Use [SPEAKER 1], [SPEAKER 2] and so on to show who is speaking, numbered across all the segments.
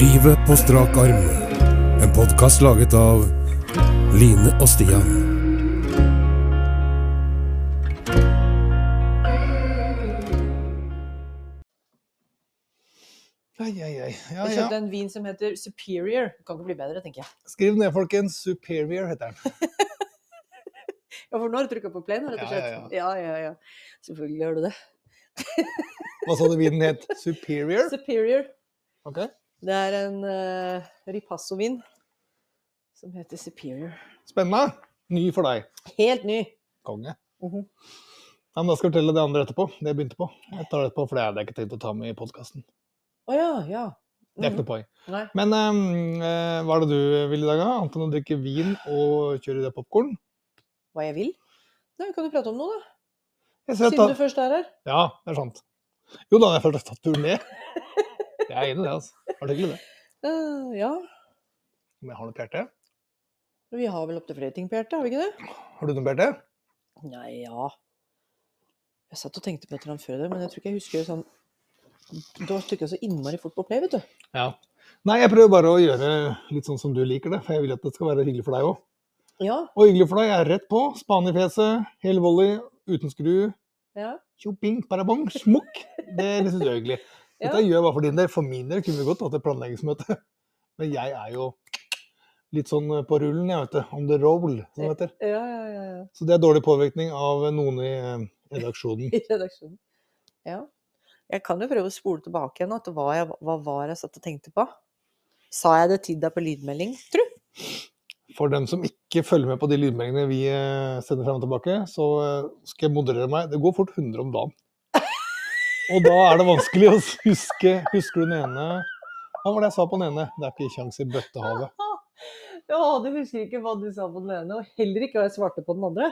[SPEAKER 1] Livet på strak arm. En podkast laget av Line og Stian.
[SPEAKER 2] Ai, ai, ai. Ja,
[SPEAKER 3] Jeg
[SPEAKER 2] ja.
[SPEAKER 3] kjøpte en vin som heter Superior. Det kan ikke bli bedre, tenker jeg.
[SPEAKER 2] Skriv ned, folkens. Superior heter den.
[SPEAKER 3] Ja, for nå har du trykka på play nå, rett og
[SPEAKER 2] Ja,
[SPEAKER 3] slett.
[SPEAKER 2] ja,
[SPEAKER 3] Ja, ja, ja. Selvfølgelig gjør du det.
[SPEAKER 2] Hva sa du vinen het? Superior?
[SPEAKER 3] Superior.
[SPEAKER 2] Ok.
[SPEAKER 3] Det er en uh, ripasso-vin som heter Superior.
[SPEAKER 2] Spennende. Ny for deg.
[SPEAKER 3] Helt ny.
[SPEAKER 2] Konge.
[SPEAKER 3] Mhm.
[SPEAKER 2] Ja, men da skal jeg fortelle det andre etterpå. Det jeg begynte på. Jeg tar det etterpå, for det hadde jeg ikke tenkt å ta med i podkasten.
[SPEAKER 3] Å ja, ja.
[SPEAKER 2] Det er ikke noe poeng.
[SPEAKER 3] Mhm. Nei.
[SPEAKER 2] Men ehm, eh, hva er det du vil i dag, da? Annet enn å drikke vin og kjøre i det popkorn?
[SPEAKER 3] Hva jeg vil? Nei, kan du prate om noe, da?
[SPEAKER 2] Jeg ser at
[SPEAKER 3] Siden du
[SPEAKER 2] da-
[SPEAKER 3] først er her.
[SPEAKER 2] Ja, det er sant. Jo da, jeg følte jeg tatt turen ned. Jeg er enig i det, altså. Var det hyggelig, det?
[SPEAKER 3] Eh, ja.
[SPEAKER 2] Om jeg har noe pjerte?
[SPEAKER 3] Vi har vel opptil flere ting på hjertet, har vi ikke det?
[SPEAKER 2] Har du noe pjerte?
[SPEAKER 3] Nei, ja Jeg satt og tenkte på et eller annet før i dag, men jeg tror ikke jeg husker sånn Du har trykka så innmari fort på play, vet du.
[SPEAKER 2] Ja. Nei, jeg prøver bare å gjøre litt sånn som du liker det, for jeg vil at det skal være hyggelig for deg òg.
[SPEAKER 3] Ja.
[SPEAKER 2] Og hyggelig for deg er rett på. Span i fjeset, hel volley, uten skru.
[SPEAKER 3] Ja.
[SPEAKER 2] Tjoping, parabong, smukk. Det syns jeg er hyggelig.
[SPEAKER 3] Ja.
[SPEAKER 2] Dette gjør jeg bare for din del. For min del kunne vi godt hatt et planleggingsmøte. Men jeg er jo litt sånn på rullen, jeg, vet du. On the roll, som det heter.
[SPEAKER 3] Ja, ja, ja, ja.
[SPEAKER 2] Så det er dårlig påvirkning av noen i eh, redaksjonen.
[SPEAKER 3] I redaksjonen. Ja. Jeg kan jo prøve å spole tilbake igjen, at hva, jeg, hva var jeg satt og tenkte på? Sa jeg det til deg på lydmelding, tru?
[SPEAKER 2] For dem som ikke følger med på de lydmeldingene vi eh, sender frem og tilbake, så eh, skal jeg moderere meg. Det går fort 100 om dagen. Og da er det vanskelig å huske Husker du den ene Hva var det jeg sa på den ene? Det er ikke kjangs i bøttehavet.
[SPEAKER 3] Ja, du husker ikke hva du sa på den ene, og heller ikke hva jeg svarte på den andre.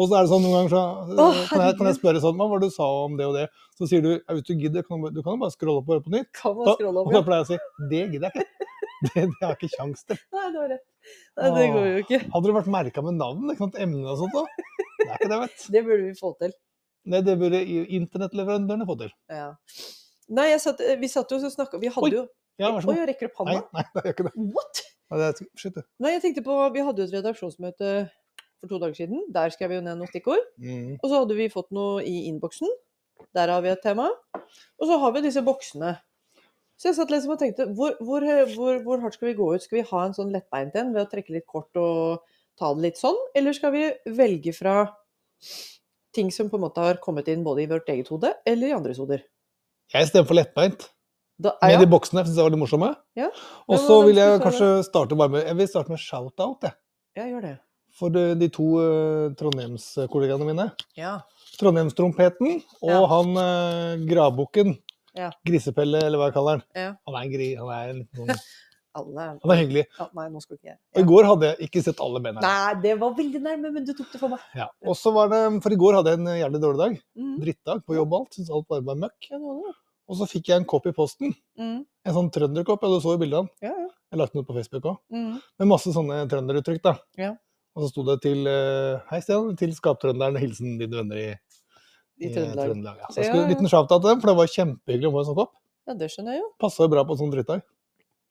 [SPEAKER 2] Og så er det sånn noen ganger så
[SPEAKER 3] Å,
[SPEAKER 2] eh, kan jeg, kan jeg spørre sånn Hva var det du sa om det og det? Så sier du ja, hvis du gidder, kan du, bare- du kan jo bare scrolle opp og høre på nytt.
[SPEAKER 3] Kan man
[SPEAKER 2] Da-
[SPEAKER 3] scrolle
[SPEAKER 2] Og
[SPEAKER 3] over?
[SPEAKER 2] da pleier jeg å si det gidder jeg ikke. Det, det har jeg ikke kjangs til.
[SPEAKER 3] Nei, du har rett. Nei, det går jo ikke.
[SPEAKER 2] Hadde det vært merka med navn, ikke sant, emne og sånt, da? Det er ikke det, vet du.
[SPEAKER 3] Det burde vi få til.
[SPEAKER 2] Nei, det burde i- internettleverandørene få til.
[SPEAKER 3] Ja. Nei, jeg satt, vi satt jo og snakka Vi hadde
[SPEAKER 2] Oi,
[SPEAKER 3] jo
[SPEAKER 2] Ja, vær så
[SPEAKER 3] Oi,
[SPEAKER 2] god.
[SPEAKER 3] jeg rekker opp
[SPEAKER 2] Nei,
[SPEAKER 3] handa.
[SPEAKER 2] nei, det gjør ikke det.
[SPEAKER 3] What?!
[SPEAKER 2] Nei, det er, shit, du.
[SPEAKER 3] Nei, jeg tenkte på Vi hadde jo et redaksjonsmøte for to dager siden. Der skrev vi jo ned noen stikkord.
[SPEAKER 2] Mm.
[SPEAKER 3] Og så hadde vi fått noe i innboksen. Der har vi et tema. Og så har vi disse boksene. Så jeg satt liksom og tenkte hvor, hvor, hvor, hvor hardt skal vi gå ut? Skal vi ha en sånn lettbeint en ved å trekke litt kort og ta det litt sånn? Eller skal vi velge fra ting som på en måte har kommet inn både i vårt eget hode eller i andres hoder?
[SPEAKER 2] Jeg stemmer for lettbeint.
[SPEAKER 3] Da,
[SPEAKER 2] Med
[SPEAKER 3] ja,
[SPEAKER 2] de boksene syns jeg var litt morsomme.
[SPEAKER 3] Ja.
[SPEAKER 2] Og
[SPEAKER 3] Men
[SPEAKER 2] så
[SPEAKER 3] hvem
[SPEAKER 2] vil jeg
[SPEAKER 3] skal
[SPEAKER 2] kanskje starte bare med Jeg vil starte med shout-out, jeg.
[SPEAKER 3] ja, gjør det.
[SPEAKER 2] For de, de to eh, Trondheims-kollegaene mine.
[SPEAKER 3] Ja.
[SPEAKER 2] Trondheimstrompeten og
[SPEAKER 3] Ja.
[SPEAKER 2] han eh, gravbukken.
[SPEAKER 3] Ja.
[SPEAKER 2] Grisepelle, eller hva jeg kaller han.
[SPEAKER 3] Ja.
[SPEAKER 2] Han er en gri... Han er, en, liten sånn-
[SPEAKER 3] Alle er
[SPEAKER 2] han er hyggelig.
[SPEAKER 3] ja, Nei, nå skal ikke jeg
[SPEAKER 2] Og i går hadde jeg ikke sett alle bena.
[SPEAKER 3] Nei, det var veldig nærme, men du tok det for meg.
[SPEAKER 2] Ja. Og så var det For i går hadde jeg en jævlig dårlig dag.
[SPEAKER 3] Mm.
[SPEAKER 2] Drittdag på jobb og alt. Syns alt bare var møkk.
[SPEAKER 3] Ja, det var det.
[SPEAKER 2] Og så fikk jeg en kopp i posten.
[SPEAKER 3] Mm.
[SPEAKER 2] En sånn trønderkopp, ja, du så jo bildet av den.
[SPEAKER 3] Ja, ja.
[SPEAKER 2] Jeg har lagt den ut på Facebook òg.
[SPEAKER 3] Mm.
[SPEAKER 2] Med masse sånne trønderuttrykk, da.
[SPEAKER 3] Ja.
[SPEAKER 2] Og så sto det til eh, Hei, Stian. Til skaptrønderen. Hilsen dine venner i,
[SPEAKER 3] I Trøndelag.
[SPEAKER 2] Ja. Så jeg
[SPEAKER 3] Ja,
[SPEAKER 2] skulle en
[SPEAKER 3] ja.
[SPEAKER 2] liten shout-out til dem, for det var kjempehyggelig å få en sånn kopp.
[SPEAKER 3] Ja, det skjønner jeg jo.
[SPEAKER 2] Passa jo bra på en sånn drittdag.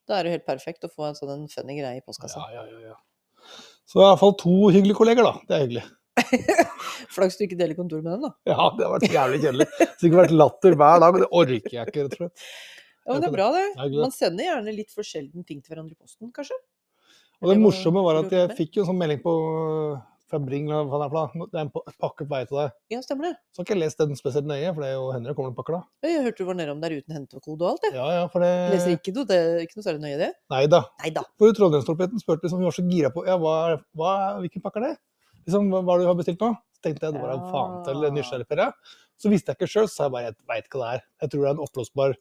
[SPEAKER 3] Da er det jo helt perfekt å få en sånn en funny greie i postkassa.
[SPEAKER 2] Ja, ja, ja, ja. altså. Så i hvert fall to hyggelige kolleger, da. Det er hyggelig.
[SPEAKER 3] Flaks du ikke deler kontor med den, da.
[SPEAKER 2] Ja, det har vært jævlig kjedelig. Sikkert vært latter hver dag, og det orker jeg ikke, rett og slett.
[SPEAKER 3] Ja,
[SPEAKER 2] Jeg
[SPEAKER 3] men det
[SPEAKER 2] kan-
[SPEAKER 3] er bra, det.
[SPEAKER 2] Jeg er glad.
[SPEAKER 3] Man sender gjerne litt for sjelden ting til hverandre i posten, kanskje.
[SPEAKER 2] Og det
[SPEAKER 3] Eller hva
[SPEAKER 2] morsomme var at
[SPEAKER 3] lurer
[SPEAKER 2] jeg
[SPEAKER 3] du på?
[SPEAKER 2] fikk jo en sånn melding på Fabring, eller hva faen det er for noe. Det er en pa- pakke på vei til deg.
[SPEAKER 3] Ja, stemmer det.
[SPEAKER 2] Så har ikke jeg lest den spesielt nøye, for det er jo Henrik kommer den pakka da.
[SPEAKER 3] Ja, Jeg hørte du var nede om der uten hentekode og alt, jeg.
[SPEAKER 2] Ja, ja, for
[SPEAKER 3] Leser
[SPEAKER 2] det
[SPEAKER 3] ikke noe, det er ikke noe særlig nøye i det.
[SPEAKER 2] Nei da.
[SPEAKER 3] Nei da.
[SPEAKER 2] For Trondheimstorpeten spurte liksom, vi var så gira på ja, hva, er- hva, er- hvilken pakke er det? Liksom, hva, hva er det du har bestilt nå? Så tenkte jeg det var en faen til
[SPEAKER 3] Ja.
[SPEAKER 2] nysgjerrigferie. Så visste jeg ikke sjøl, så sa jeg bare jeg veit ikke hva det er. Jeg tror det er en oppblåsbar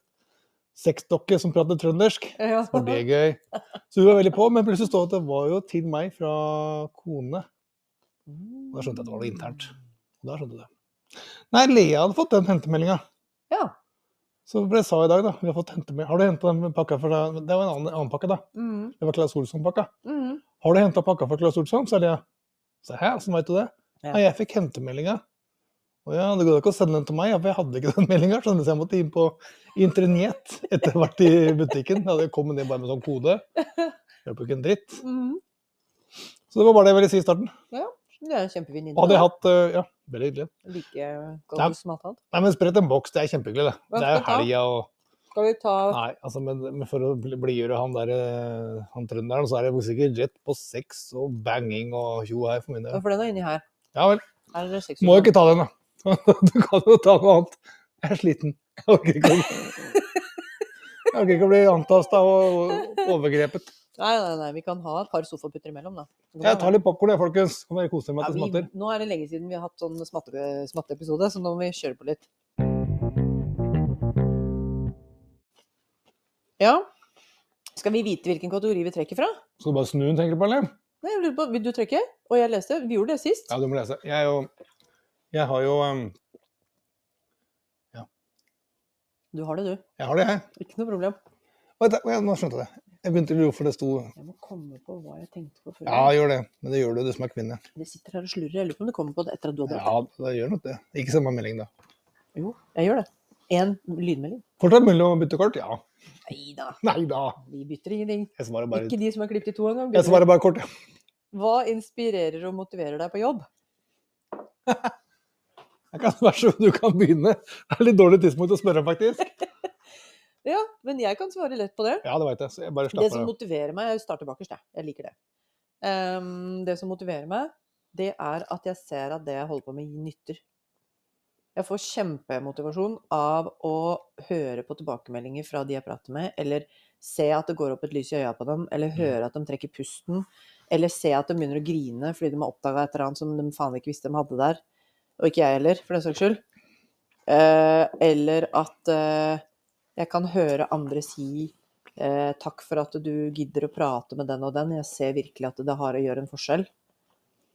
[SPEAKER 2] sexdokke som prater trøndersk.
[SPEAKER 3] Ja.
[SPEAKER 2] Var det gøy? Så hun var veldig på, men plutselig står det at det var jo til meg fra kone. Og Da skjønte jeg at det var noe internt. Og Da skjønte jeg det. Nei, Lea hadde fått den hentemeldinga.
[SPEAKER 3] Ja.
[SPEAKER 2] Så ble jeg sa i dag, da. Vi har fått hentemelding. Har du henta den pakka fra Det var en annen, annen pakke, da.
[SPEAKER 3] Mm.
[SPEAKER 2] Det var Claes Olsson-pakka.
[SPEAKER 3] Mm.
[SPEAKER 2] Har du henta pakka fra Claes Olsson? sa Lea. Så hæ, åssen veit du det?
[SPEAKER 3] Ja.
[SPEAKER 2] Nei, jeg fikk hentemeldinga. Å ja, det går ikke å sende den til meg, ja, for jeg hadde ikke den meldinga. Så jeg måtte inn på internett etter hvert i butikken. Jeg hadde kommet ned bare med sånn kode. Hjelper jo ikke en dritt.
[SPEAKER 3] Mhm.
[SPEAKER 2] Så det var bare det jeg ville si i starten.
[SPEAKER 3] Det er en kjempefin inngang.
[SPEAKER 2] Hadde jeg hatt eh, Ja, veldig hyggelig.
[SPEAKER 3] Like
[SPEAKER 2] Nei.
[SPEAKER 3] godt som alt annet.
[SPEAKER 2] Nei, men sprett en boks, det er kjempehyggelig, det.
[SPEAKER 3] Hva
[SPEAKER 2] Det er jo
[SPEAKER 3] skal vi
[SPEAKER 2] helga og
[SPEAKER 3] Skal vi ta
[SPEAKER 2] Nei, altså, men, men for å bli- blidgjøre han der, eh, han trønderen, så er det sikkert rett på sex og banging og tjo her for min del.
[SPEAKER 3] For den er inni her.
[SPEAKER 2] Ja vel.
[SPEAKER 3] Her er det seks
[SPEAKER 2] Må jo
[SPEAKER 3] stykker.
[SPEAKER 2] ikke ta den, da. Du kan jo ta noe annet. Jeg er sliten. Jeg orker ikke å, jeg orker ikke å bli antasta og overgrepet.
[SPEAKER 3] Nei, nei, nei, vi kan ha et par sofaputter imellom, da. Så kan
[SPEAKER 2] Jeg
[SPEAKER 3] vi-
[SPEAKER 2] tar litt popkorn, jeg, folkens. Kan dere kose dere med
[SPEAKER 3] Ja,
[SPEAKER 2] at det
[SPEAKER 3] vi,
[SPEAKER 2] smatter?
[SPEAKER 3] nå er det lenge siden vi har hatt sånn smatte- smatteepisode, så nå må vi kjøre på litt. Ja. Skal vi vite hvilken kategori vi trekker fra?
[SPEAKER 2] Skal du bare snu den, tenker du på, eller?
[SPEAKER 3] Nei, jeg lurer på, Vil du trekke? Og jeg leste. Vi gjorde det sist.
[SPEAKER 2] Ja, du må lese. Jeg, er jo, jeg har jo em,
[SPEAKER 3] Du har det, du.
[SPEAKER 2] Jeg har det, jeg.
[SPEAKER 3] Ikke noe problem.
[SPEAKER 2] Oi, da- oi, Nå skjønte jeg det. Jeg begynte å lure hvorfor det sto
[SPEAKER 3] Jeg må komme på hva jeg tenkte på før.
[SPEAKER 2] Ja, gjør det. Men det gjør du, du som er kvinne.
[SPEAKER 3] Det sitter her og slurrer. Jeg lurer på om du kommer på det etter at du har dratt.
[SPEAKER 2] Ja, det gjør nok det. Ikke send meg melding, da.
[SPEAKER 3] Jo, jeg gjør det. Én lydmelding.
[SPEAKER 2] Fortsatt mulig å bytte kort? Ja.
[SPEAKER 3] Nei da,
[SPEAKER 2] Nei da.
[SPEAKER 3] vi bytter ingenting.
[SPEAKER 2] Jeg svarer bare,
[SPEAKER 3] Ikke de som er klippet i to engang.
[SPEAKER 2] jeg svarer bare kort, jeg.
[SPEAKER 3] Hva inspirerer og motiverer deg på jobb?
[SPEAKER 2] Jeg kan være så du kan begynne. Det er litt dårlig tidspunkt å spørre om, faktisk.
[SPEAKER 3] Ja, men jeg kan svare lett på det.
[SPEAKER 2] Ja, det veit jeg, så jeg bare
[SPEAKER 3] Det som
[SPEAKER 2] slapper av.
[SPEAKER 3] motiverer meg Jeg starter bakerst, jeg. Jeg liker det. Ehm, det som motiverer meg, det er at jeg ser at det jeg holder på med, nytter. Jeg får kjempemotivasjon av å høre på tilbakemeldinger fra de jeg prater med, eller se at det går opp et lys i øya på dem, eller høre at de trekker pusten, eller se at de begynner å grine fordi de har oppdaga et eller annet som de faen ikke visste de hadde der. Og ikke jeg heller, for den saks skyld. Eh, eller at eh, jeg kan høre andre si Eh, takk for at du gidder å prate med den og den. Jeg ser virkelig at det har å gjøre en forskjell.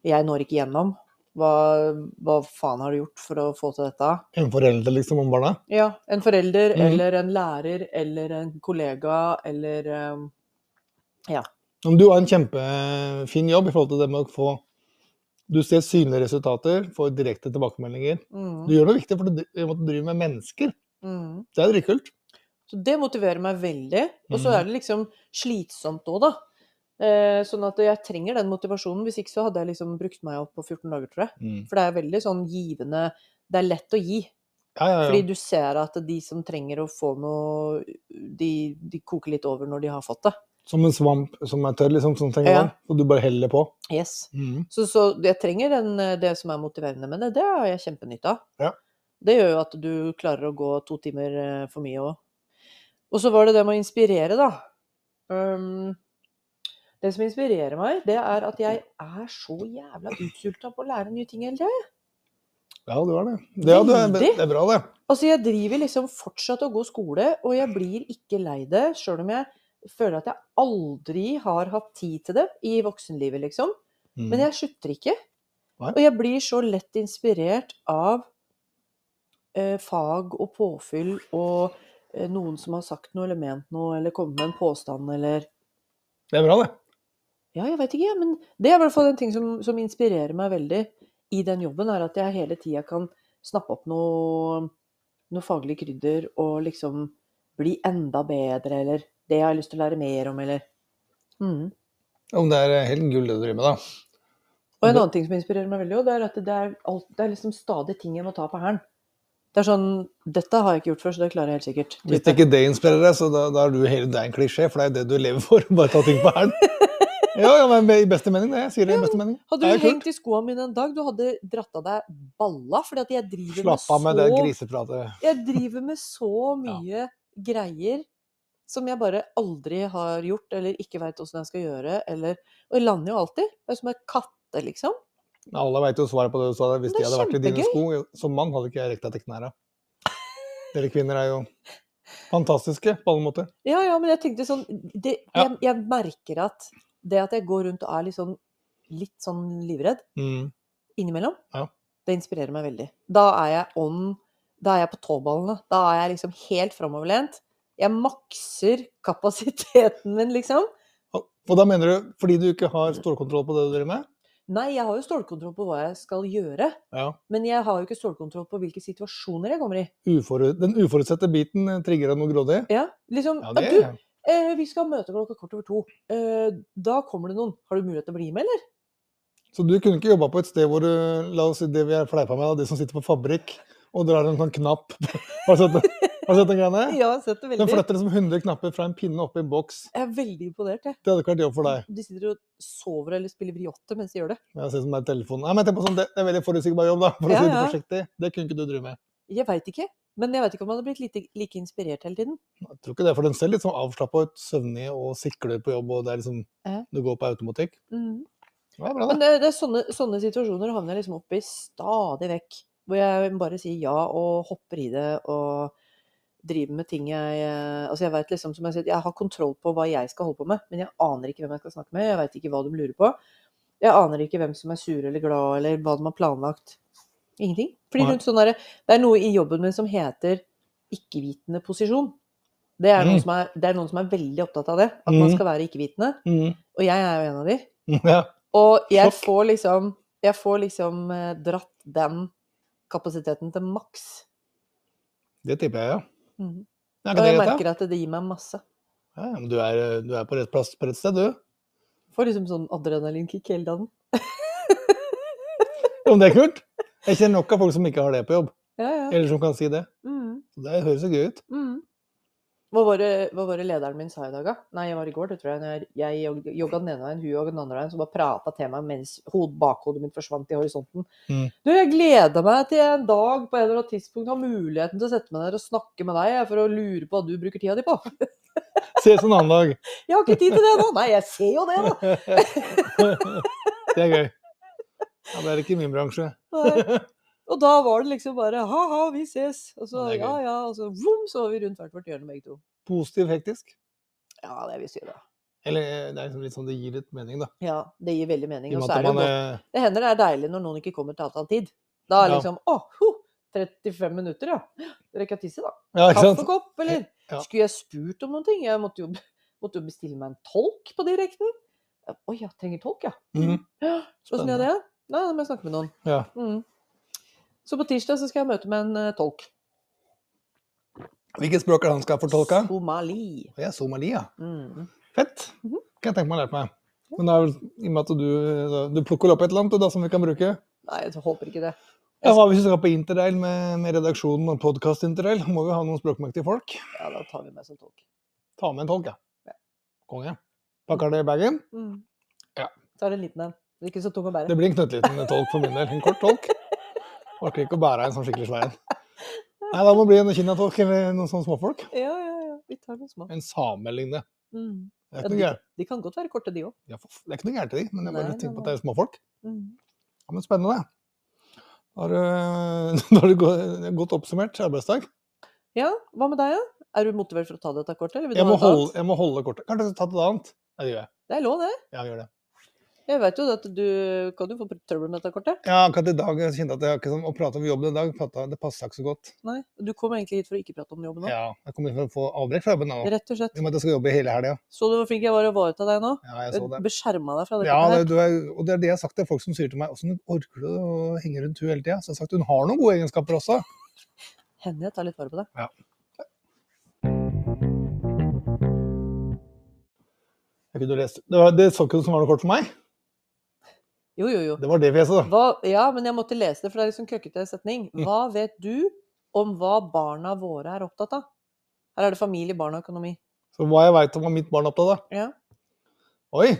[SPEAKER 3] Jeg når ikke gjennom. Hva, hva faen har du gjort for å få til dette? Mm.
[SPEAKER 2] En forelder, liksom, om barna?
[SPEAKER 3] Ja, en forelder
[SPEAKER 2] Mhm.
[SPEAKER 3] eller en lærer eller en kollega eller eh,
[SPEAKER 2] Om du har en kjempefin jobb i forhold til det med å få Du ser synlige resultater, får direkte tilbakemeldinger.
[SPEAKER 3] mm,
[SPEAKER 2] Du gjør noe viktig, for du dri- du driver med mennesker.
[SPEAKER 3] mm.
[SPEAKER 2] Det er dritkult.
[SPEAKER 3] Så det motiverer meg veldig. Og så
[SPEAKER 2] Mhm.
[SPEAKER 3] er det liksom slitsomt òg, da. Eh, sånn at jeg trenger den motivasjonen. Hvis ikke så hadde jeg liksom brukt meg opp på 14 dager, tror jeg.
[SPEAKER 2] Mm.
[SPEAKER 3] For det er veldig sånn givende Det er lett å gi.
[SPEAKER 2] Ja, ja,
[SPEAKER 3] Fordi
[SPEAKER 2] ja.
[SPEAKER 3] du ser at de som trenger å få noe, de, de koker litt over når de har fått det.
[SPEAKER 2] Som en svamp som er tørr, liksom, som trenger
[SPEAKER 3] Ja.
[SPEAKER 2] vann. Og du bare heller på.
[SPEAKER 3] Yes.
[SPEAKER 2] Mm.
[SPEAKER 3] Så, så jeg trenger den, eh, det som er motiverende med det, det har jeg kjempenytte av.
[SPEAKER 2] Ja.
[SPEAKER 3] Det gjør jo at du klarer å gå to timer eh, for mye òg. Og så var det det med å inspirere, da. Ehm, det som inspirerer meg, det er at jeg er så jævla utsulta på å lære nye ting hele tida.
[SPEAKER 2] Ja, du er det. Det, ja, du er,
[SPEAKER 3] Veldig.
[SPEAKER 2] det er bra, det.
[SPEAKER 3] Altså, jeg driver liksom fortsatt å gå skole, og jeg blir ikke lei det, sjøl om jeg føler at jeg aldri har hatt tid til det i voksenlivet, liksom.
[SPEAKER 2] Mm.
[SPEAKER 3] Men jeg slutter ikke.
[SPEAKER 2] Nei.
[SPEAKER 3] Og jeg blir så lett inspirert av eh, fag og påfyll og eh, noen som har sagt noe eller ment noe, eller kommet med en påstand eller
[SPEAKER 2] Det er bra, det.
[SPEAKER 3] Ja, jeg veit ikke, jeg, men det er i hvert fall en ting som, som inspirerer meg veldig i den jobben, er at jeg hele tida kan snappe opp noe, noe faglig krydder og liksom bli enda bedre, eller det jeg har lyst til å lære mer om, eller mm.
[SPEAKER 2] Ja, men det er helt gull det du driver med, da.
[SPEAKER 3] Og en
[SPEAKER 2] Det-
[SPEAKER 3] annen ting som inspirerer meg veldig, også, det er at det er, alt, det er liksom stadig ting jeg må ta på hælen. Det er sånn Dette har jeg ikke gjort før, så det klarer jeg helt sikkert.
[SPEAKER 2] Hvis
[SPEAKER 3] type.
[SPEAKER 2] ikke det inspirerer deg, så da, da er du hele det er en klisjé, for det er det du lever for. Bare ta ting på hælen. Ja, ja, men i beste mening, det. Jeg sier det i beste mening.
[SPEAKER 3] Hadde
[SPEAKER 2] Det er
[SPEAKER 3] du
[SPEAKER 2] jo kult.
[SPEAKER 3] hengt i skoene mine en dag, du hadde dratt av deg balla. Fordi at jeg driver
[SPEAKER 2] Slapp av med
[SPEAKER 3] så
[SPEAKER 2] det grisepratet.
[SPEAKER 3] Jeg driver med så mye greier som jeg bare aldri har gjort, eller ikke veit åssen jeg skal gjøre, eller Og jeg lander jo alltid. Det er som en katte, liksom.
[SPEAKER 2] Alle veit jo svaret på det du sa der. Hvis de
[SPEAKER 3] Men det er
[SPEAKER 2] hadde vært i dine
[SPEAKER 3] kjempegøy.
[SPEAKER 2] sko som mann, hadde ikke jeg rekt deg til knærne. Dere kvinner er jo fantastiske på alle måter.
[SPEAKER 3] Ja, ja, men jeg tenkte sånn det,
[SPEAKER 2] Ja.
[SPEAKER 3] jeg, jeg merker at det at jeg går rundt og er litt sånn, litt sånn livredd
[SPEAKER 2] Mm.
[SPEAKER 3] innimellom,
[SPEAKER 2] Ja.
[SPEAKER 3] det inspirerer meg veldig. Da er jeg on, da er jeg på tåballene. Da er jeg liksom helt framoverlent. Jeg makser kapasiteten min, liksom.
[SPEAKER 2] Og, og da mener du fordi du ikke har stålkontroll på det du driver med?
[SPEAKER 3] Nei, jeg har jo stålkontroll på hva jeg skal gjøre,
[SPEAKER 2] Ja.
[SPEAKER 3] men jeg har jo ikke stålkontroll på hvilke situasjoner jeg kommer i.
[SPEAKER 2] Uforu- den uforutsette biten eh, trigger deg noe grådig?
[SPEAKER 3] Ja, liksom,
[SPEAKER 2] Ja,
[SPEAKER 3] «Ah,
[SPEAKER 2] det
[SPEAKER 3] du, eh, vi skal møte klokka kvart over to. Eh, da kommer det noen. Har du mulighet til å bli med, eller?
[SPEAKER 2] Så du kunne ikke jobba på et sted hvor du La oss si det vi er fleipa med, da, de som sitter på fabrikk og drar en sånn knapp Har du sett, det? Har du sett den greia der?
[SPEAKER 3] Ja, jeg har sett det
[SPEAKER 2] Den
[SPEAKER 3] veldig.
[SPEAKER 2] flytter liksom 100 knapper fra en pinne opp i en boks.
[SPEAKER 3] Jeg er veldig imponert, jeg.
[SPEAKER 2] Det hadde ikke vært jobb for deg.
[SPEAKER 3] De sitter og sover eller spiller briotte mens de gjør det.
[SPEAKER 2] Jeg ser som det er telefonen. Nei, men tenk på sånn, det det er veldig forutsigbar jobb, da, for
[SPEAKER 3] Ja,
[SPEAKER 2] å si det
[SPEAKER 3] ja.
[SPEAKER 2] forsiktig. Det kunne ikke du drive med.
[SPEAKER 3] Jeg veit ikke. Men jeg veit ikke om jeg hadde blitt like, like inspirert hele tiden.
[SPEAKER 2] Jeg tror ikke det, for den ser litt sånn avslappa ut, søvnig og sikler på jobb, og det er liksom
[SPEAKER 3] Ja.
[SPEAKER 2] Du går på automatikk.
[SPEAKER 3] Mhm.
[SPEAKER 2] Det er bra, det.
[SPEAKER 3] Men det, det er sånne, sånne situasjoner havner jeg liksom opp i stadig vekk. Hvor jeg bare sier ja og hopper i det og driver med ting jeg eh, Altså jeg veit liksom, som jeg sier, jeg har kontroll på hva jeg skal holde på med, men jeg aner ikke hvem jeg skal snakke med, jeg veit ikke hva de lurer på. Jeg aner ikke hvem som er sur eller glad, eller hva de har planlagt. Ingenting. Fordi
[SPEAKER 2] Nei.
[SPEAKER 3] rundt sånn derre- Det er noe i jobben min som heter ikke-vitende posisjon. Det er, noen
[SPEAKER 2] Mm.
[SPEAKER 3] som er, det er noen som er veldig opptatt av det. At man
[SPEAKER 2] Mm.
[SPEAKER 3] skal være ikke-vitende.
[SPEAKER 2] Mm.
[SPEAKER 3] Og jeg er jo en av de.
[SPEAKER 2] Ja.
[SPEAKER 3] Og jeg
[SPEAKER 2] Sjokk.
[SPEAKER 3] får liksom, jeg får liksom eh, dratt den kapasiteten til maks.
[SPEAKER 2] Det tipper jeg, ja.
[SPEAKER 3] Mhm.
[SPEAKER 2] Er ikke
[SPEAKER 3] Og
[SPEAKER 2] det
[SPEAKER 3] jeg
[SPEAKER 2] greit, da?
[SPEAKER 3] merker at det gir meg masse.
[SPEAKER 2] Ja, ja, men du er, eh, du er på rett plass på rett sted, du.
[SPEAKER 3] Får liksom sånn adrenalinkick hele dagen.
[SPEAKER 2] Ja, men det er kult. Jeg kjenner nok av folk som ikke har det på jobb,
[SPEAKER 3] Ja, ja.
[SPEAKER 2] eller som kan si det.
[SPEAKER 3] Mhm,
[SPEAKER 2] Det høres jo gøy ut.
[SPEAKER 3] mhm. Hva var, det, hva var det lederen min sa i dag, da? Nei, jeg var i går, det tror jeg. når Jeg jeg jog- jogga den ene veien, hun jogga den andre veien, så bare prata til meg mens hod, bakhodet mitt forsvant i horisonten.
[SPEAKER 2] Mhm.
[SPEAKER 3] Du, jeg gleder meg til en dag på en eller annen tidspunkt har muligheten til å sette meg der og snakke med deg jeg, for å lure på hva du bruker tida di på.
[SPEAKER 2] Ses en annen dag.
[SPEAKER 3] Jeg har ikke tid til det nå! Nei, jeg ser jo det, da!
[SPEAKER 2] Det er gøy. Ja, det er ikke min bransje.
[SPEAKER 3] Nei. Og da var det liksom bare ha-ha, vi ses. Og så
[SPEAKER 2] Ja, det er
[SPEAKER 3] ja
[SPEAKER 2] gøy.
[SPEAKER 3] ja, og så vroom, så var vi rundt hvert vårt hjørne begge to.
[SPEAKER 2] Positiv hektisk.
[SPEAKER 3] Ja, det vil si det.
[SPEAKER 2] Eller eh, det er liksom litt sånn det gir litt mening, da.
[SPEAKER 3] Ja, det gir veldig mening.
[SPEAKER 2] I og
[SPEAKER 3] Og
[SPEAKER 2] med
[SPEAKER 3] så
[SPEAKER 2] at
[SPEAKER 3] er det, jo
[SPEAKER 2] man
[SPEAKER 3] godt.
[SPEAKER 2] er
[SPEAKER 3] det hender det er deilig når noen ikke kommer til avtalt tid. Da er
[SPEAKER 2] Ja.
[SPEAKER 3] liksom åh, ho, 35 minutter, ja. Rekker jeg tisse, da?
[SPEAKER 2] eh, Ja, ikke sant?
[SPEAKER 3] Kaffekopp, eller?
[SPEAKER 2] Ja.
[SPEAKER 3] Skulle jeg spurt om noen ting? Jeg måtte jo, måtte jo bestille meg en tolk på direkten. Å ja, trenger tolk, ja.
[SPEAKER 2] Mhm.
[SPEAKER 3] Ja, Åssen gjør jeg det? Nei, da må jeg snakke med noen.
[SPEAKER 2] Ja.
[SPEAKER 3] Mm. Så på tirsdag så skal jeg møte med en eh, tolk.
[SPEAKER 2] Hvilket språk er det han skal fortolke?
[SPEAKER 3] Somali.
[SPEAKER 2] Jeg er somali, ja.
[SPEAKER 3] Mm.
[SPEAKER 2] Fett.
[SPEAKER 3] Mhm.
[SPEAKER 2] Kan jeg tenke meg å lære meg. Men da, er vel- i og med at du, eh, du plukker vel opp et eller annet du, da, som vi kan bruke
[SPEAKER 3] Nei, jeg håper ikke det.
[SPEAKER 2] ja, Hva hvis vi skal på interrail med, med redaksjonen og podkast-interrail? Må vi ha noen språkmektige folk?
[SPEAKER 3] Ja, da tar vi med som tolk.
[SPEAKER 2] Ta med en tolk, ja.
[SPEAKER 3] Ja.
[SPEAKER 2] Konge. Pakker det i bagen? Ja.
[SPEAKER 3] Mm. Så er det en liten en. Det er Ikke så tung å
[SPEAKER 2] Det
[SPEAKER 3] bære.
[SPEAKER 2] blir en knøttliten tolk for min del. En kort tolk. Orker ikke å bære en sånn skikkelig svær en. Nei, da må det bli en kinatolk eller noen sånne småfolk.
[SPEAKER 3] Ja, ja, ja. Vi tar noen små.
[SPEAKER 2] En same eller lignende.
[SPEAKER 3] Mm.
[SPEAKER 2] Det er
[SPEAKER 3] Ja,
[SPEAKER 2] ikke noe
[SPEAKER 3] de,
[SPEAKER 2] gærent
[SPEAKER 3] de kan godt være korte, de òg.
[SPEAKER 2] ja, for f- det er ikke noe gærent i de, men jeg
[SPEAKER 3] Nei,
[SPEAKER 2] bare
[SPEAKER 3] nei,
[SPEAKER 2] tenker på at
[SPEAKER 3] nei.
[SPEAKER 2] det er småfolk.
[SPEAKER 3] Mm.
[SPEAKER 2] Ja, men spennende. Da har du, da har du gå- godt oppsummert arbeidsdag.
[SPEAKER 3] Ja, hva med deg, da? Er du motivert for å ta dette kortet? Eller vil du
[SPEAKER 2] Jeg
[SPEAKER 3] ha
[SPEAKER 2] må,
[SPEAKER 3] et
[SPEAKER 2] holde,
[SPEAKER 3] annet?
[SPEAKER 2] jeg må holde kortet. Kanskje jeg skal ta til et annet? Ja, det gjør jeg.
[SPEAKER 3] Det er lov, det.
[SPEAKER 2] Ja, jeg gjør det.
[SPEAKER 3] Jeg vet jo at du kan jo få trøbbel med dette kortet.
[SPEAKER 2] Ja, akkurat i dag jeg kjente at jeg har ikke sånn, å prate om jobben i dag, fatta- det passa ikke så godt.
[SPEAKER 3] Nei, Du kom egentlig hit for å ikke prate om jobben nå.
[SPEAKER 2] Ja, jeg kommer for å få avbrekk fra jobben nå.
[SPEAKER 3] Rett og slett.
[SPEAKER 2] I og med at jeg skal jobbe hele helga.
[SPEAKER 3] Så du hvor flink jeg var å vareta deg nå?
[SPEAKER 2] Ja, jeg så det.
[SPEAKER 3] Jeg beskjerma deg fra dette.
[SPEAKER 2] Ja,
[SPEAKER 3] her.
[SPEAKER 2] det, du er, og det er det jeg har sagt til folk som sier til meg åssen orker du å henge rundt henne hele tida? Så jeg har sagt hun har noen gode egenskaper også.
[SPEAKER 3] Hender jeg tar litt vare på deg.
[SPEAKER 2] Jeg kunne lest. Det, var, det så ikke ut som var noe kort for meg.
[SPEAKER 3] Jo, jo, jo.
[SPEAKER 2] Det var det fjeset, da.
[SPEAKER 3] Hva, ja, men jeg måtte lese det, for det er liksom køkkete setning.
[SPEAKER 2] Mm.
[SPEAKER 3] Hva vet du om hva barna våre er opptatt av? Her er det familie, barn og økonomi.
[SPEAKER 2] Så hva jeg veit om hva mitt barn er opptatt av.
[SPEAKER 3] Ja.
[SPEAKER 2] Oi,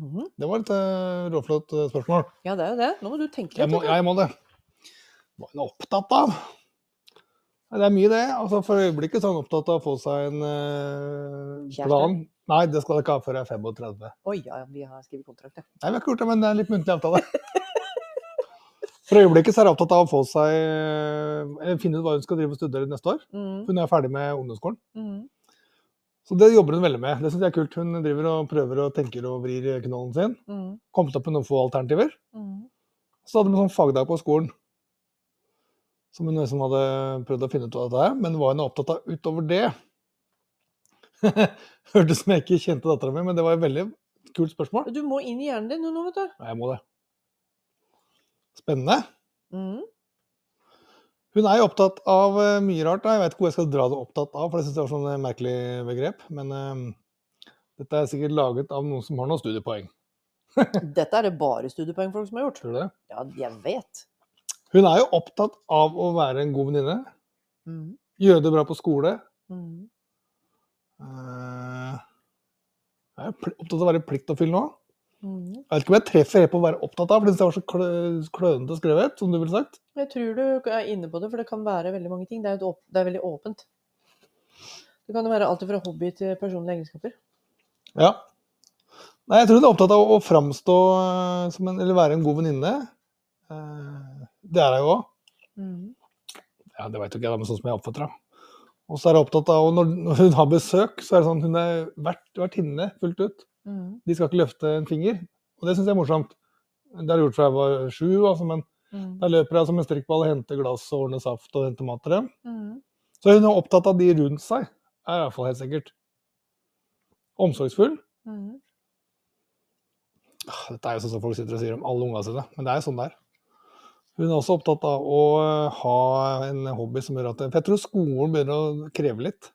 [SPEAKER 3] Mhm.
[SPEAKER 2] det var et eh, råflott eh, spørsmål.
[SPEAKER 3] ja, det er jo det. Nå må du tenke litt.
[SPEAKER 2] Jeg må,
[SPEAKER 3] vet du.
[SPEAKER 2] ja, jeg må det. Hva er hun opptatt av? Nei, Det er mye, det. Altså, for øyeblikket så er hun opptatt av å få seg en eh,
[SPEAKER 3] Kjæreste.
[SPEAKER 2] plan. Nei, det skal hun ikke ha før jeg er 35.
[SPEAKER 3] Oi, ja, ja, vi har skrevet kontrakt, ja.
[SPEAKER 2] Nei, vi har ikke gjort det, men det er en litt muntlig avtale. For øyeblikket så er jeg opptatt av å få seg, eh, finne ut hva hun skal drive og studere neste år.
[SPEAKER 3] Mhm,
[SPEAKER 2] Hun er ferdig med ungdomsskolen.
[SPEAKER 3] mhm.
[SPEAKER 2] Så det jobber hun veldig med. Det syns jeg er kult. Hun driver og prøver og tenker og vrir knollen sin.
[SPEAKER 3] Mhm,
[SPEAKER 2] Kommet opp med noen få alternativer.
[SPEAKER 3] mhm.
[SPEAKER 2] Så hadde vi en sånn fagdag på skolen. Som hun liksom hadde prøvd å finne ut av dette her, men hva hun er opptatt av utover det Hørtes ut som jeg ikke kjente dattera mi, men det var et veldig kult spørsmål.
[SPEAKER 3] Du må inn i hjernen din nå, vet du.
[SPEAKER 2] Nei, jeg må det. Spennende.
[SPEAKER 3] Mm.
[SPEAKER 2] Hun er jo opptatt av eh, mye rart. da. Jeg vet ikke hvor jeg skal dra det opptatt av, for jeg syns det var sånn eh, merkelig begrep. Men eh, dette er sikkert laget av noen som har noen studiepoeng.
[SPEAKER 3] Dette er det bare studiepoengfolk som har gjort.
[SPEAKER 2] Tror du det?
[SPEAKER 3] Ja, jeg vet.
[SPEAKER 2] Hun er jo opptatt av å være en god venninne,
[SPEAKER 3] Mm.
[SPEAKER 2] gjøre det bra på skole.
[SPEAKER 3] Mm.
[SPEAKER 2] eh, er jo pl- opptatt av å være pliktoppfyllende òg.
[SPEAKER 3] Mm.
[SPEAKER 2] Jeg vet ikke om jeg treffer helt på å være opptatt av, for jeg synes det var så klø- klønete skrevet, som du ville sagt.
[SPEAKER 3] Jeg tror du er inne på det, for det kan være veldig mange ting. Det er, et åp det er veldig åpent. Det kan jo være alt fra hobby til personlige egenskaper.
[SPEAKER 2] Ja. Nei, jeg tror hun er opptatt av å framstå eh, som en, eller være en god venninne. Eh, Det er hun jo òg.
[SPEAKER 3] Mhm.
[SPEAKER 2] Ja, det veit jo ikke jeg, da, men sånn som jeg oppfatter henne. Og så er hun opptatt av, og når, når hun har besøk, så er det sånn hun er vert, vertinne fullt ut.
[SPEAKER 3] Mm.
[SPEAKER 2] De skal ikke løfte en finger. Og det syns jeg er morsomt. Det har jeg gjort fra jeg var sju, altså, men
[SPEAKER 3] Mm.
[SPEAKER 2] da løper jeg som en strikkball og henter glass og ordner saft og henter mat til dem.
[SPEAKER 3] Mm.
[SPEAKER 2] Så hun er opptatt av de rundt seg, er iallfall helt sikkert. Omsorgsfull.
[SPEAKER 3] Mm.
[SPEAKER 2] Ah, Dette er jo sånn som folk sitter og sier om alle ungene sine, men det er jo sånn det er. Hun er også opptatt av å eh, ha en hobby som gjør at For jeg tror skolen begynner å kreve litt.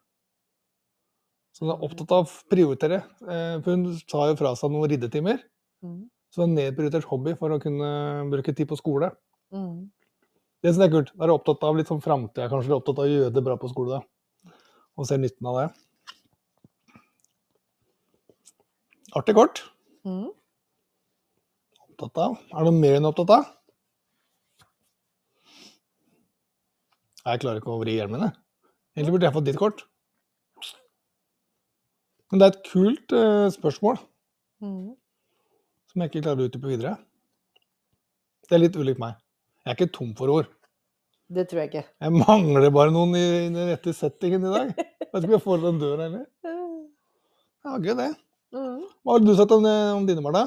[SPEAKER 2] Så hun er opptatt av å prioritere. Eh, For hun tar jo fra seg noen riddetimer.
[SPEAKER 3] Mm.
[SPEAKER 2] Så det er en nedprioritert hobby for å kunne bruke tid på skole.
[SPEAKER 3] Mm.
[SPEAKER 2] Det som er kult, da er du opptatt av litt sånn framtida, kanskje du er opptatt av å gjøre det bra på skole, da. Og ser nytten av det. Artig kort.
[SPEAKER 3] Mm.
[SPEAKER 2] Opptatt av. Er det noe mer enn opptatt av? Nei, Jeg klarer ikke å vri hjelmen, jeg. Egentlig burde jeg fått ditt kort. Men det er et kult eh, spørsmål
[SPEAKER 3] Mm.
[SPEAKER 2] som jeg ikke klarer å utdype videre. Det er litt ulikt meg. Jeg er ikke tom for ord.
[SPEAKER 3] Det tror jeg ikke.
[SPEAKER 2] Jeg mangler bare noen i, i den rette settingen i dag. Vet ikke om jeg får den døra heller. Ja, gøy det.
[SPEAKER 3] Eh, Mm.
[SPEAKER 2] Hva har du sett om, eh, om dine barn, da?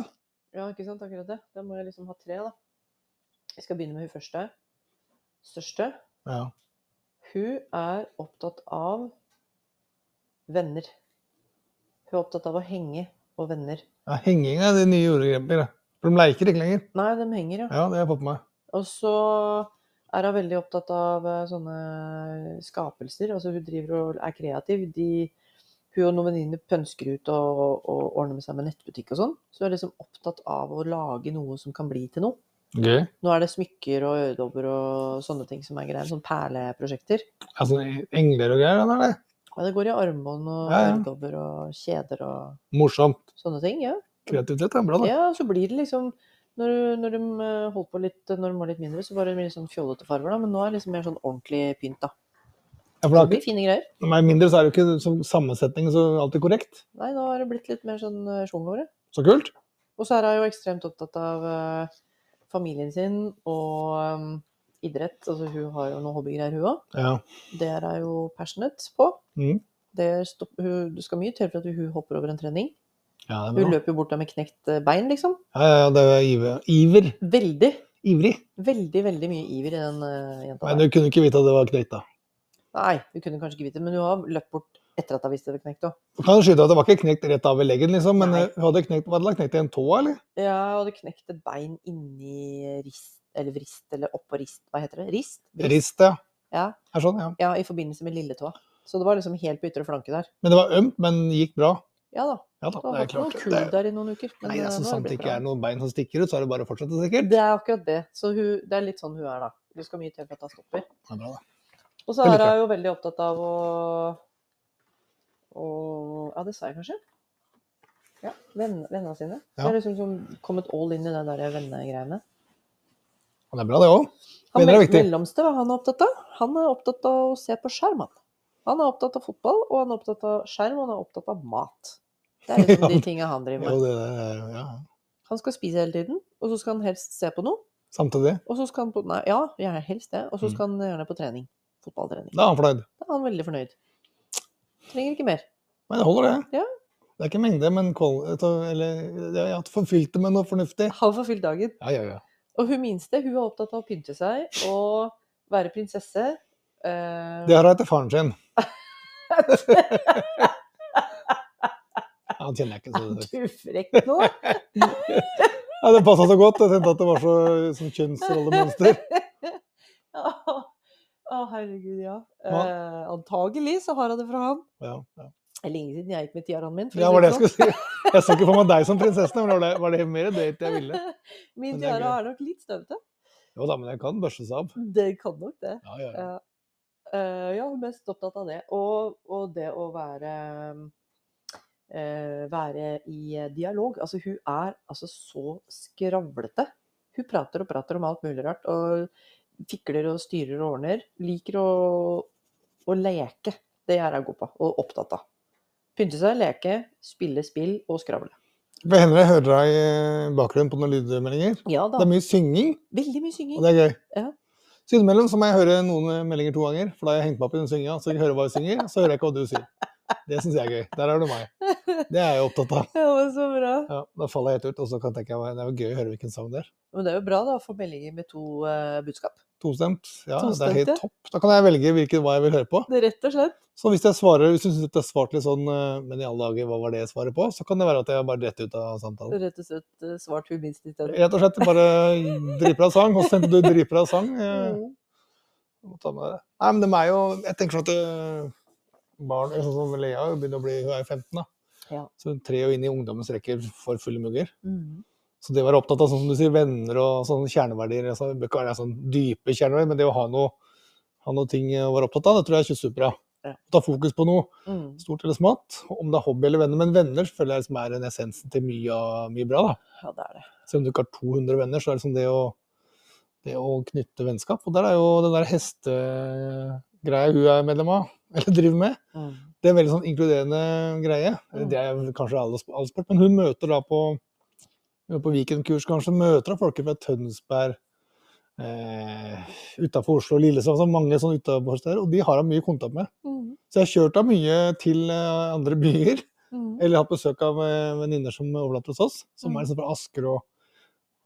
[SPEAKER 3] Ja, ikke sant, akkurat det. Da må jeg liksom ha tre, da. Jeg skal begynne med hun første. Største.
[SPEAKER 2] Ja.
[SPEAKER 3] Hun er opptatt av venner. Hun er opptatt av å henge og venner.
[SPEAKER 2] ja henging er det nye julegrepet. det. For de leker ikke lenger.
[SPEAKER 3] Nei, de henger, ja.
[SPEAKER 2] Ja, det har jeg fått med meg.
[SPEAKER 3] Og så er hun veldig opptatt av eh, sånne skapelser. Altså hun driver og er kreativ. De, hun og noen venninner pønsker ut og, og ordner med seg med nettbutikk og sånn. Så hun er liksom opptatt av å lage noe som kan bli til noe.
[SPEAKER 2] Gøy.
[SPEAKER 3] Nå er det smykker og øredobber og sånne ting som er greier. Sånn perleprosjekter.
[SPEAKER 2] Altså, engler og greier, eller?
[SPEAKER 3] Ja, det går i armbånd og
[SPEAKER 2] Ja, ja.
[SPEAKER 3] øredobber og kjeder og
[SPEAKER 2] Morsomt.
[SPEAKER 3] sånne ting. Ja,
[SPEAKER 2] Kreativitet er bra, da.
[SPEAKER 3] ja så blir det liksom når, når de eh, holdt på litt, når de var litt mindre, så var det litt sånn fjollete farger, da. Men nå er det liksom mer sånn ordentlig pynt, da.
[SPEAKER 2] Ja, for
[SPEAKER 3] Så
[SPEAKER 2] det
[SPEAKER 3] det
[SPEAKER 2] er
[SPEAKER 3] blir
[SPEAKER 2] ikke,
[SPEAKER 3] fine greier.
[SPEAKER 2] når man er mindre, så er det jo ikke som sammensetning så alltid korrekt.
[SPEAKER 3] Nei, nå har det blitt litt mer sånn eh, sjonglovere.
[SPEAKER 2] Så kult.
[SPEAKER 3] Og så er hun jo ekstremt opptatt av eh, familien sin og eh, idrett. Altså hun har jo noen hobbygreier, hun òg.
[SPEAKER 2] Ja.
[SPEAKER 3] Det er hun jo passionate på.
[SPEAKER 2] Mhm.
[SPEAKER 3] Det, stopp, hun, det skal mye til for at hun hopper over en trening.
[SPEAKER 2] Ja, det
[SPEAKER 3] Hun
[SPEAKER 2] er bra.
[SPEAKER 3] løper jo bort der med knekt eh, bein, liksom.
[SPEAKER 2] Ja, ja, ja, det er iver. iver.
[SPEAKER 3] Veldig,
[SPEAKER 2] Ivrig.
[SPEAKER 3] veldig veldig mye iver i den eh, jenta
[SPEAKER 2] Men
[SPEAKER 3] der.
[SPEAKER 2] du kunne ikke vite at det var knekt, da.
[SPEAKER 3] Nei, hun kunne kanskje ikke vite det, men hun har løpt bort etter at hun visste det var knekt òg.
[SPEAKER 2] Du kan jo skyte at det var ikke knekt rett av ved leggen, liksom, men
[SPEAKER 3] Nei.
[SPEAKER 2] eh, hun hadde knekt, hadde knekt i en tå, eller?
[SPEAKER 3] Ja, og det knekte bein inni rist, eller vrist, eller oppå rist, hva heter det? Rist?
[SPEAKER 2] Rist, ja.
[SPEAKER 3] Ja.
[SPEAKER 2] Er sånn, ja.
[SPEAKER 3] Ja, i forbindelse med lilletåa. Så det var liksom helt på ytre flanke der.
[SPEAKER 2] Men det var ømt, men gikk bra.
[SPEAKER 3] Ja da.
[SPEAKER 2] Ja da,
[SPEAKER 3] Det
[SPEAKER 2] det
[SPEAKER 3] har
[SPEAKER 2] er
[SPEAKER 3] vært noe
[SPEAKER 2] klart.
[SPEAKER 3] kull
[SPEAKER 2] Det,
[SPEAKER 3] der i noen uker. Men
[SPEAKER 2] nei,
[SPEAKER 3] eh,
[SPEAKER 2] altså,
[SPEAKER 3] nå har
[SPEAKER 2] samt
[SPEAKER 3] det
[SPEAKER 2] det
[SPEAKER 3] blitt
[SPEAKER 2] ikke
[SPEAKER 3] bra.
[SPEAKER 2] er noen bein som stikker ut, så er det bare å fortsette, sikkert.
[SPEAKER 3] Det er akkurat det. Så hun, det er litt sånn hun er, da. Det skal mye til for at hun stopper.
[SPEAKER 2] Det er bra, da.
[SPEAKER 3] Og så
[SPEAKER 2] Det
[SPEAKER 3] er
[SPEAKER 2] liker
[SPEAKER 3] hun jo veldig opptatt av å, å Ja, det sa jeg kanskje? Ja, venn, vennene sine.
[SPEAKER 2] Ja.
[SPEAKER 3] Hun har liksom som kommet all in i det der vennegreiene.
[SPEAKER 2] Men det er bra, det òg.
[SPEAKER 3] Han
[SPEAKER 2] Venner er
[SPEAKER 3] mell-
[SPEAKER 2] viktig.
[SPEAKER 3] mellomste, hva er han opptatt av? Han er opptatt av å se på skjerm, han. Han er opptatt av fotball, og han er opptatt av skjerm, og han er opptatt av mat. Det er liksom de tinga han driver
[SPEAKER 2] Jo,
[SPEAKER 3] med.
[SPEAKER 2] det er ja.
[SPEAKER 3] Han skal spise hele tiden, og så skal han helst se på noe.
[SPEAKER 2] Samtidig.
[SPEAKER 3] Og så skal han på Nei, ja, gjerne helst det.
[SPEAKER 2] Mm.
[SPEAKER 3] Og så skal han gjerne på trening. Fotballtrening.
[SPEAKER 2] Da er han fornøyd.
[SPEAKER 3] Da er han veldig fornøyd. Trenger ikke mer.
[SPEAKER 2] Men det holder, det.
[SPEAKER 3] Ja.
[SPEAKER 2] Det er ikke mengde, men kvalitet Eller jeg har forfylt det med noe fornuftig.
[SPEAKER 3] Han får fylt dagen.
[SPEAKER 2] Ja, ja, ja.
[SPEAKER 3] Og hun minste, hun er opptatt av å pynte seg og være prinsesse. Eh,
[SPEAKER 2] Det har hun etter faren sin. Han kjenner jeg ikke så
[SPEAKER 3] Er du frekk nå?
[SPEAKER 2] Nei, den passa så godt. Jeg tenkte at det var så sånn kjønnsrollemønster.
[SPEAKER 3] Å, herregud, ja.
[SPEAKER 2] Hva?
[SPEAKER 3] Eh, antagelig så har jeg det fra han.
[SPEAKER 2] Ja, ja.
[SPEAKER 3] Det er lenge siden jeg gikk med tiaraen min. for å
[SPEAKER 2] Det
[SPEAKER 3] si
[SPEAKER 2] var det jeg
[SPEAKER 3] sånn.
[SPEAKER 2] skulle si. Jeg så ikke for meg deg som prinsesse, men det var det- var det mer det jeg ville.
[SPEAKER 3] Min
[SPEAKER 2] Men det er
[SPEAKER 3] tiara
[SPEAKER 2] gøy.
[SPEAKER 3] er nok litt støvete.
[SPEAKER 2] Jo da, men jeg kan børses av.
[SPEAKER 3] Det kan nok det.
[SPEAKER 2] Ja, ja, ja.
[SPEAKER 3] Ja. Eh, ja, mest opptatt av det. Og, og det å være eh, Være i eh, dialog. Altså, hun er altså så skravlete. Hun prater og prater om alt mulig rart. Og fikler og styrer og ordner. Liker å, å leke. Det er hun god på og opptatt av. Pynte seg, leke, spille spill og skravle.
[SPEAKER 2] Det hender jeg hører deg i eh, bakgrunnen på noen lydmeldinger.
[SPEAKER 3] Ja
[SPEAKER 2] Det
[SPEAKER 3] da.
[SPEAKER 2] er mye synging,
[SPEAKER 3] Veldig mye
[SPEAKER 2] og
[SPEAKER 3] synging.
[SPEAKER 2] det er gøy.
[SPEAKER 3] Ja.
[SPEAKER 2] Så innimellom så må jeg høre noen eh, meldinger to ganger, for da har jeg hengt meg opp i den synginga. Så jeg hører hva jeg synger, og så hører jeg ikke hva du sier. Det syns jeg er gøy. Der er du meg. Det er jeg opptatt av.
[SPEAKER 3] Ja, men så bra.
[SPEAKER 2] Ja, da faller jeg helt ut, og så kan jeg tenke meg det er jo gøy å høre hvilken sang det er.
[SPEAKER 3] Men det er jo bra da, å få meldinger med to eh, budskap.
[SPEAKER 2] Tostemt. Ja, det er
[SPEAKER 3] Tostemt,
[SPEAKER 2] helt
[SPEAKER 3] ja.
[SPEAKER 2] topp. Da kan jeg velge hvilken hva jeg vil høre på.
[SPEAKER 3] Det er Rett og slett.
[SPEAKER 2] Så hvis jeg svarer, hvis du syns jeg svarte litt sånn eh, Men i alle dager, hva var det jeg svarer på? Så kan det være at jeg bare detter ut av samtalen.
[SPEAKER 3] rett og slett eh, svart hun minst isteden.
[SPEAKER 2] Rett og slett bare driper av sang, og så tenkte du driper av sang. eh,
[SPEAKER 3] Mm.
[SPEAKER 2] må ta med det. Nei, men de er jo Jeg tenker sånn at øh, barn sånn som Lea hun begynner å bli Hun er jo 15, da.
[SPEAKER 3] Ja.
[SPEAKER 2] Så hun trer jo inn i ungdommens rekker for fulle mugger.
[SPEAKER 3] Mm.
[SPEAKER 2] Så det å være opptatt av sånn som du sier, venner og sånne kjerneverdier altså, Det bør ikke være sånn dype kjerneverdier, men det å ha noe, ha noe ting å være opptatt av, det tror jeg er kjempebra.
[SPEAKER 3] Ja.
[SPEAKER 2] Ta fokus på noe,
[SPEAKER 3] Mm.
[SPEAKER 2] stort eller smått, om det er hobby eller venner. Men venner føler jeg liksom er en essensen til mye, av- mye bra. da.
[SPEAKER 3] Ja, det er det.
[SPEAKER 2] Selv om du ikke har 200 venner, så er det liksom det å, det å knytte vennskap. Og der er jo den der hestegreia hun er medlem av, eller driver med, det er en veldig sånn inkluderende greie.
[SPEAKER 3] Mm.
[SPEAKER 2] Det er kanskje alle, sp- all sport, men hun møter da på, hun er på Viken-kurs, kanskje møter da folk fra Tønsberg, eh, utafor Oslo, Lillesand, så mange sånne utafor steder, og de har hun mye kontakt med.
[SPEAKER 3] Mm.
[SPEAKER 2] Så jeg har kjørt henne mye til eh, andre byer.
[SPEAKER 3] Mm.
[SPEAKER 2] Eller hatt besøk av eh, venninner som overnatter hos oss, som
[SPEAKER 3] Mm.
[SPEAKER 2] er liksom fra Asker og,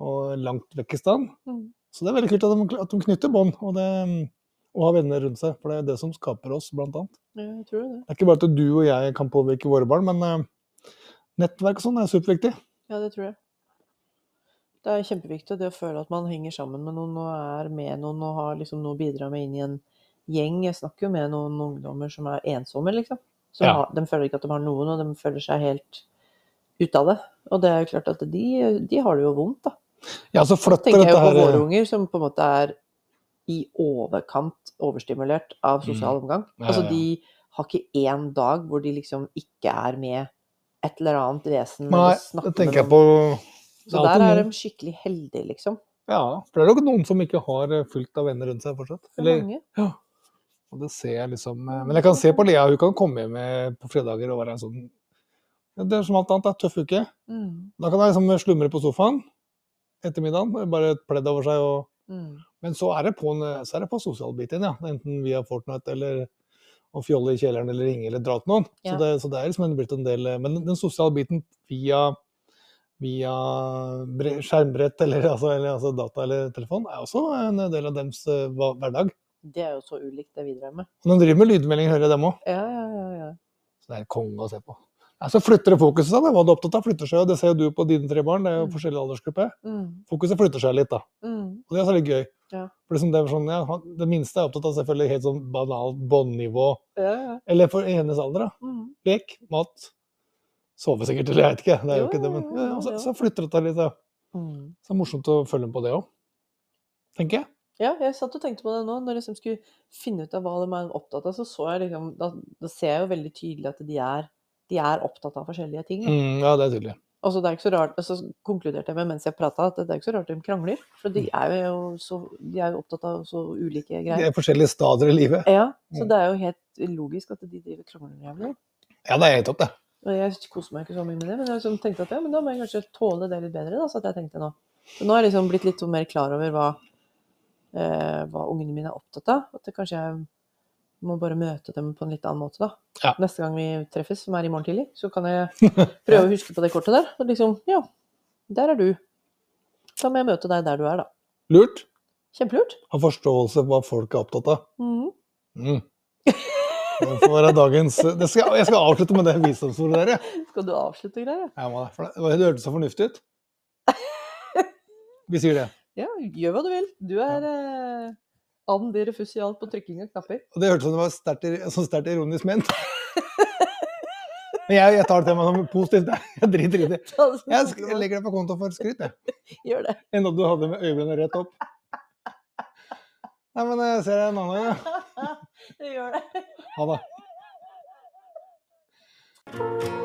[SPEAKER 2] og langt vekk i stand.
[SPEAKER 3] Mm.
[SPEAKER 2] Så det er veldig kult at de, at de knytter bånd og, det- og har venner rundt seg, for det er det som skaper oss, blant annet.
[SPEAKER 3] Ja, jeg tror det.
[SPEAKER 2] Det er ikke bare at du og jeg kan påvirke våre barn, men eh, nettverk og sånn er superviktig.
[SPEAKER 3] Ja, det tror jeg. Det er kjempeviktig det å føle at man henger sammen med noen og er med noen og har liksom noe å bidra med inn i en gjeng. Jeg snakker jo med noen ungdommer som er ensomme, liksom. Som
[SPEAKER 2] Ja.
[SPEAKER 3] har, de føler ikke at de har noen, og de føler seg helt ute av det. Og det er jo klart at de, de har det jo vondt, da.
[SPEAKER 2] Ja, så flytter
[SPEAKER 3] tenker jeg
[SPEAKER 2] dette
[SPEAKER 3] jo på
[SPEAKER 2] her eh,
[SPEAKER 3] våre unger, som på en måte er i overkant overstimulert av sosial omgang.
[SPEAKER 2] Mm. Ja,
[SPEAKER 3] Altså,
[SPEAKER 2] ja.
[SPEAKER 3] de har ikke én dag hvor de liksom ikke er med et eller annet vesen.
[SPEAKER 2] Nei,
[SPEAKER 3] eller snakker
[SPEAKER 2] det
[SPEAKER 3] med
[SPEAKER 2] tenker jeg
[SPEAKER 3] noen.
[SPEAKER 2] på det er
[SPEAKER 3] Så der
[SPEAKER 2] alltid
[SPEAKER 3] er
[SPEAKER 2] noen-
[SPEAKER 3] de skikkelig heldige, liksom.
[SPEAKER 2] Ja, for det er nok noen som ikke har eh, fullt av venner rundt seg fortsatt.
[SPEAKER 3] Det er
[SPEAKER 2] Eller,
[SPEAKER 3] mange.
[SPEAKER 2] Og det ser jeg liksom eh, Men jeg kan se på Lea, hun kan komme hjem eh, på fredager og være en sånn Ja, Det er som alt annet, det er en tøff uke.
[SPEAKER 3] Mm,
[SPEAKER 2] Da kan jeg liksom slumre på sofaen ettermiddagen, eh, bare et pledd over seg og
[SPEAKER 3] mm,
[SPEAKER 2] Men så er det på, en- eh, så er det på sosialbiten, ja. Enten via Fortnite eller å fjolle i kjelleren eller ringe eller dra til noen.
[SPEAKER 3] Ja.
[SPEAKER 2] Så, det, så det er liksom en- blitt en del eh, Men den- den sosiale biten via, via bre, skjermbrett eller, altså, eller altså data eller telefon er også en del av deres eh, hva- hverdag.
[SPEAKER 3] Det er jo så ulikt det vi driver med.
[SPEAKER 2] Og de driver med lydmeldinger, hører jeg dem òg.
[SPEAKER 3] Ja, ja, ja. ja.
[SPEAKER 2] Så det er konge å se på. Ja, så flytter det fokuset seg, da. Hva du er opptatt av, flytter seg jo. Det ser jo du på dine tre barn, det er jo
[SPEAKER 3] Mm.
[SPEAKER 2] forskjellig aldersgruppe.
[SPEAKER 3] Mm,
[SPEAKER 2] Fokuset flytter seg litt, da.
[SPEAKER 3] mm,
[SPEAKER 2] Og det er så litt gøy.
[SPEAKER 3] Ja.
[SPEAKER 2] For liksom det, er sånn, ja, han- det minste er opptatt av selvfølgelig helt sånn banalt båndnivå.
[SPEAKER 3] ja, ja.
[SPEAKER 2] Eller for i hennes alder, da.
[SPEAKER 3] Mm.
[SPEAKER 2] Lek, mat, sove sikkert, eller jeg vet ikke. Det er jo
[SPEAKER 3] Jo,
[SPEAKER 2] ikke det, men
[SPEAKER 3] jo,
[SPEAKER 2] ja, ja,
[SPEAKER 3] jo,
[SPEAKER 2] så,
[SPEAKER 3] jo.
[SPEAKER 2] så flytter det seg litt, da.
[SPEAKER 3] Mm.
[SPEAKER 2] Så det er morsomt å følge med på det òg. Tenker jeg.
[SPEAKER 3] Ja, jeg satt og tenkte på det nå. Når jeg liksom skulle finne ut av hva de er opptatt av, så så jeg liksom, da, da ser jeg jo veldig tydelig at de er, de er opptatt av forskjellige ting. da.
[SPEAKER 2] Mm, ja, det er tydelig.
[SPEAKER 3] Og så det er ikke så rart, og så konkluderte jeg med mens jeg prata at det er ikke så rart de krangler. For de
[SPEAKER 2] Mm.
[SPEAKER 3] er jo, så, de er jo opptatt av så ulike
[SPEAKER 2] Det
[SPEAKER 3] greier.
[SPEAKER 2] er forskjellige stadier i livet.
[SPEAKER 3] Ja, så
[SPEAKER 2] Mm.
[SPEAKER 3] det er jo helt logisk at de driver og krangler jævlig.
[SPEAKER 2] Ja, det er helt topp, det.
[SPEAKER 3] Og jeg koser meg ikke så mye med det, men jeg liksom tenkte at ja, men da må jeg kanskje tåle det litt bedre. da, så at jeg tenkte nå. Så nå har jeg liksom blitt litt sånn mer klar over hva, eh, hva ungene mine er opptatt av. At det kanskje jeg må bare møte dem på en litt annen måte, da.
[SPEAKER 2] Ja.
[SPEAKER 3] Neste gang vi treffes, som er i morgen tidlig, så kan jeg prøve å huske på det kortet der. Og liksom, ja, der er du. Da må jeg møte deg der du er, da.
[SPEAKER 2] Lurt.
[SPEAKER 3] Kjempelurt.
[SPEAKER 2] Ha forståelse for hva folk er opptatt av.
[SPEAKER 3] Mhm.
[SPEAKER 2] Mm. Det får være dagens det skal, Jeg skal avslutte med det visdomsordet der, jeg.
[SPEAKER 3] Skal du avslutte greia?
[SPEAKER 2] jeg må det, for det det hørtes så fornuftig ut. Vi sier det.
[SPEAKER 3] Ja, gjør hva du vil. Du er eh, and i refus i alt på trykking av knapper.
[SPEAKER 2] Og det hørtes ut som det var sterkt, ir- sånn sterkt ironisk ment. Men jeg, jeg tar det til meg som positivt. jeg. Jeg driter i det.
[SPEAKER 3] Ta det som
[SPEAKER 2] Jeg sk-
[SPEAKER 3] kompliment.
[SPEAKER 2] legger det på konto for skryt, jeg.
[SPEAKER 3] Gjør det.
[SPEAKER 2] Enn at du hadde med øyebrynene rett opp. Nei, men jeg ser deg en annen gang,
[SPEAKER 3] Gjør det.
[SPEAKER 2] da. Ha det.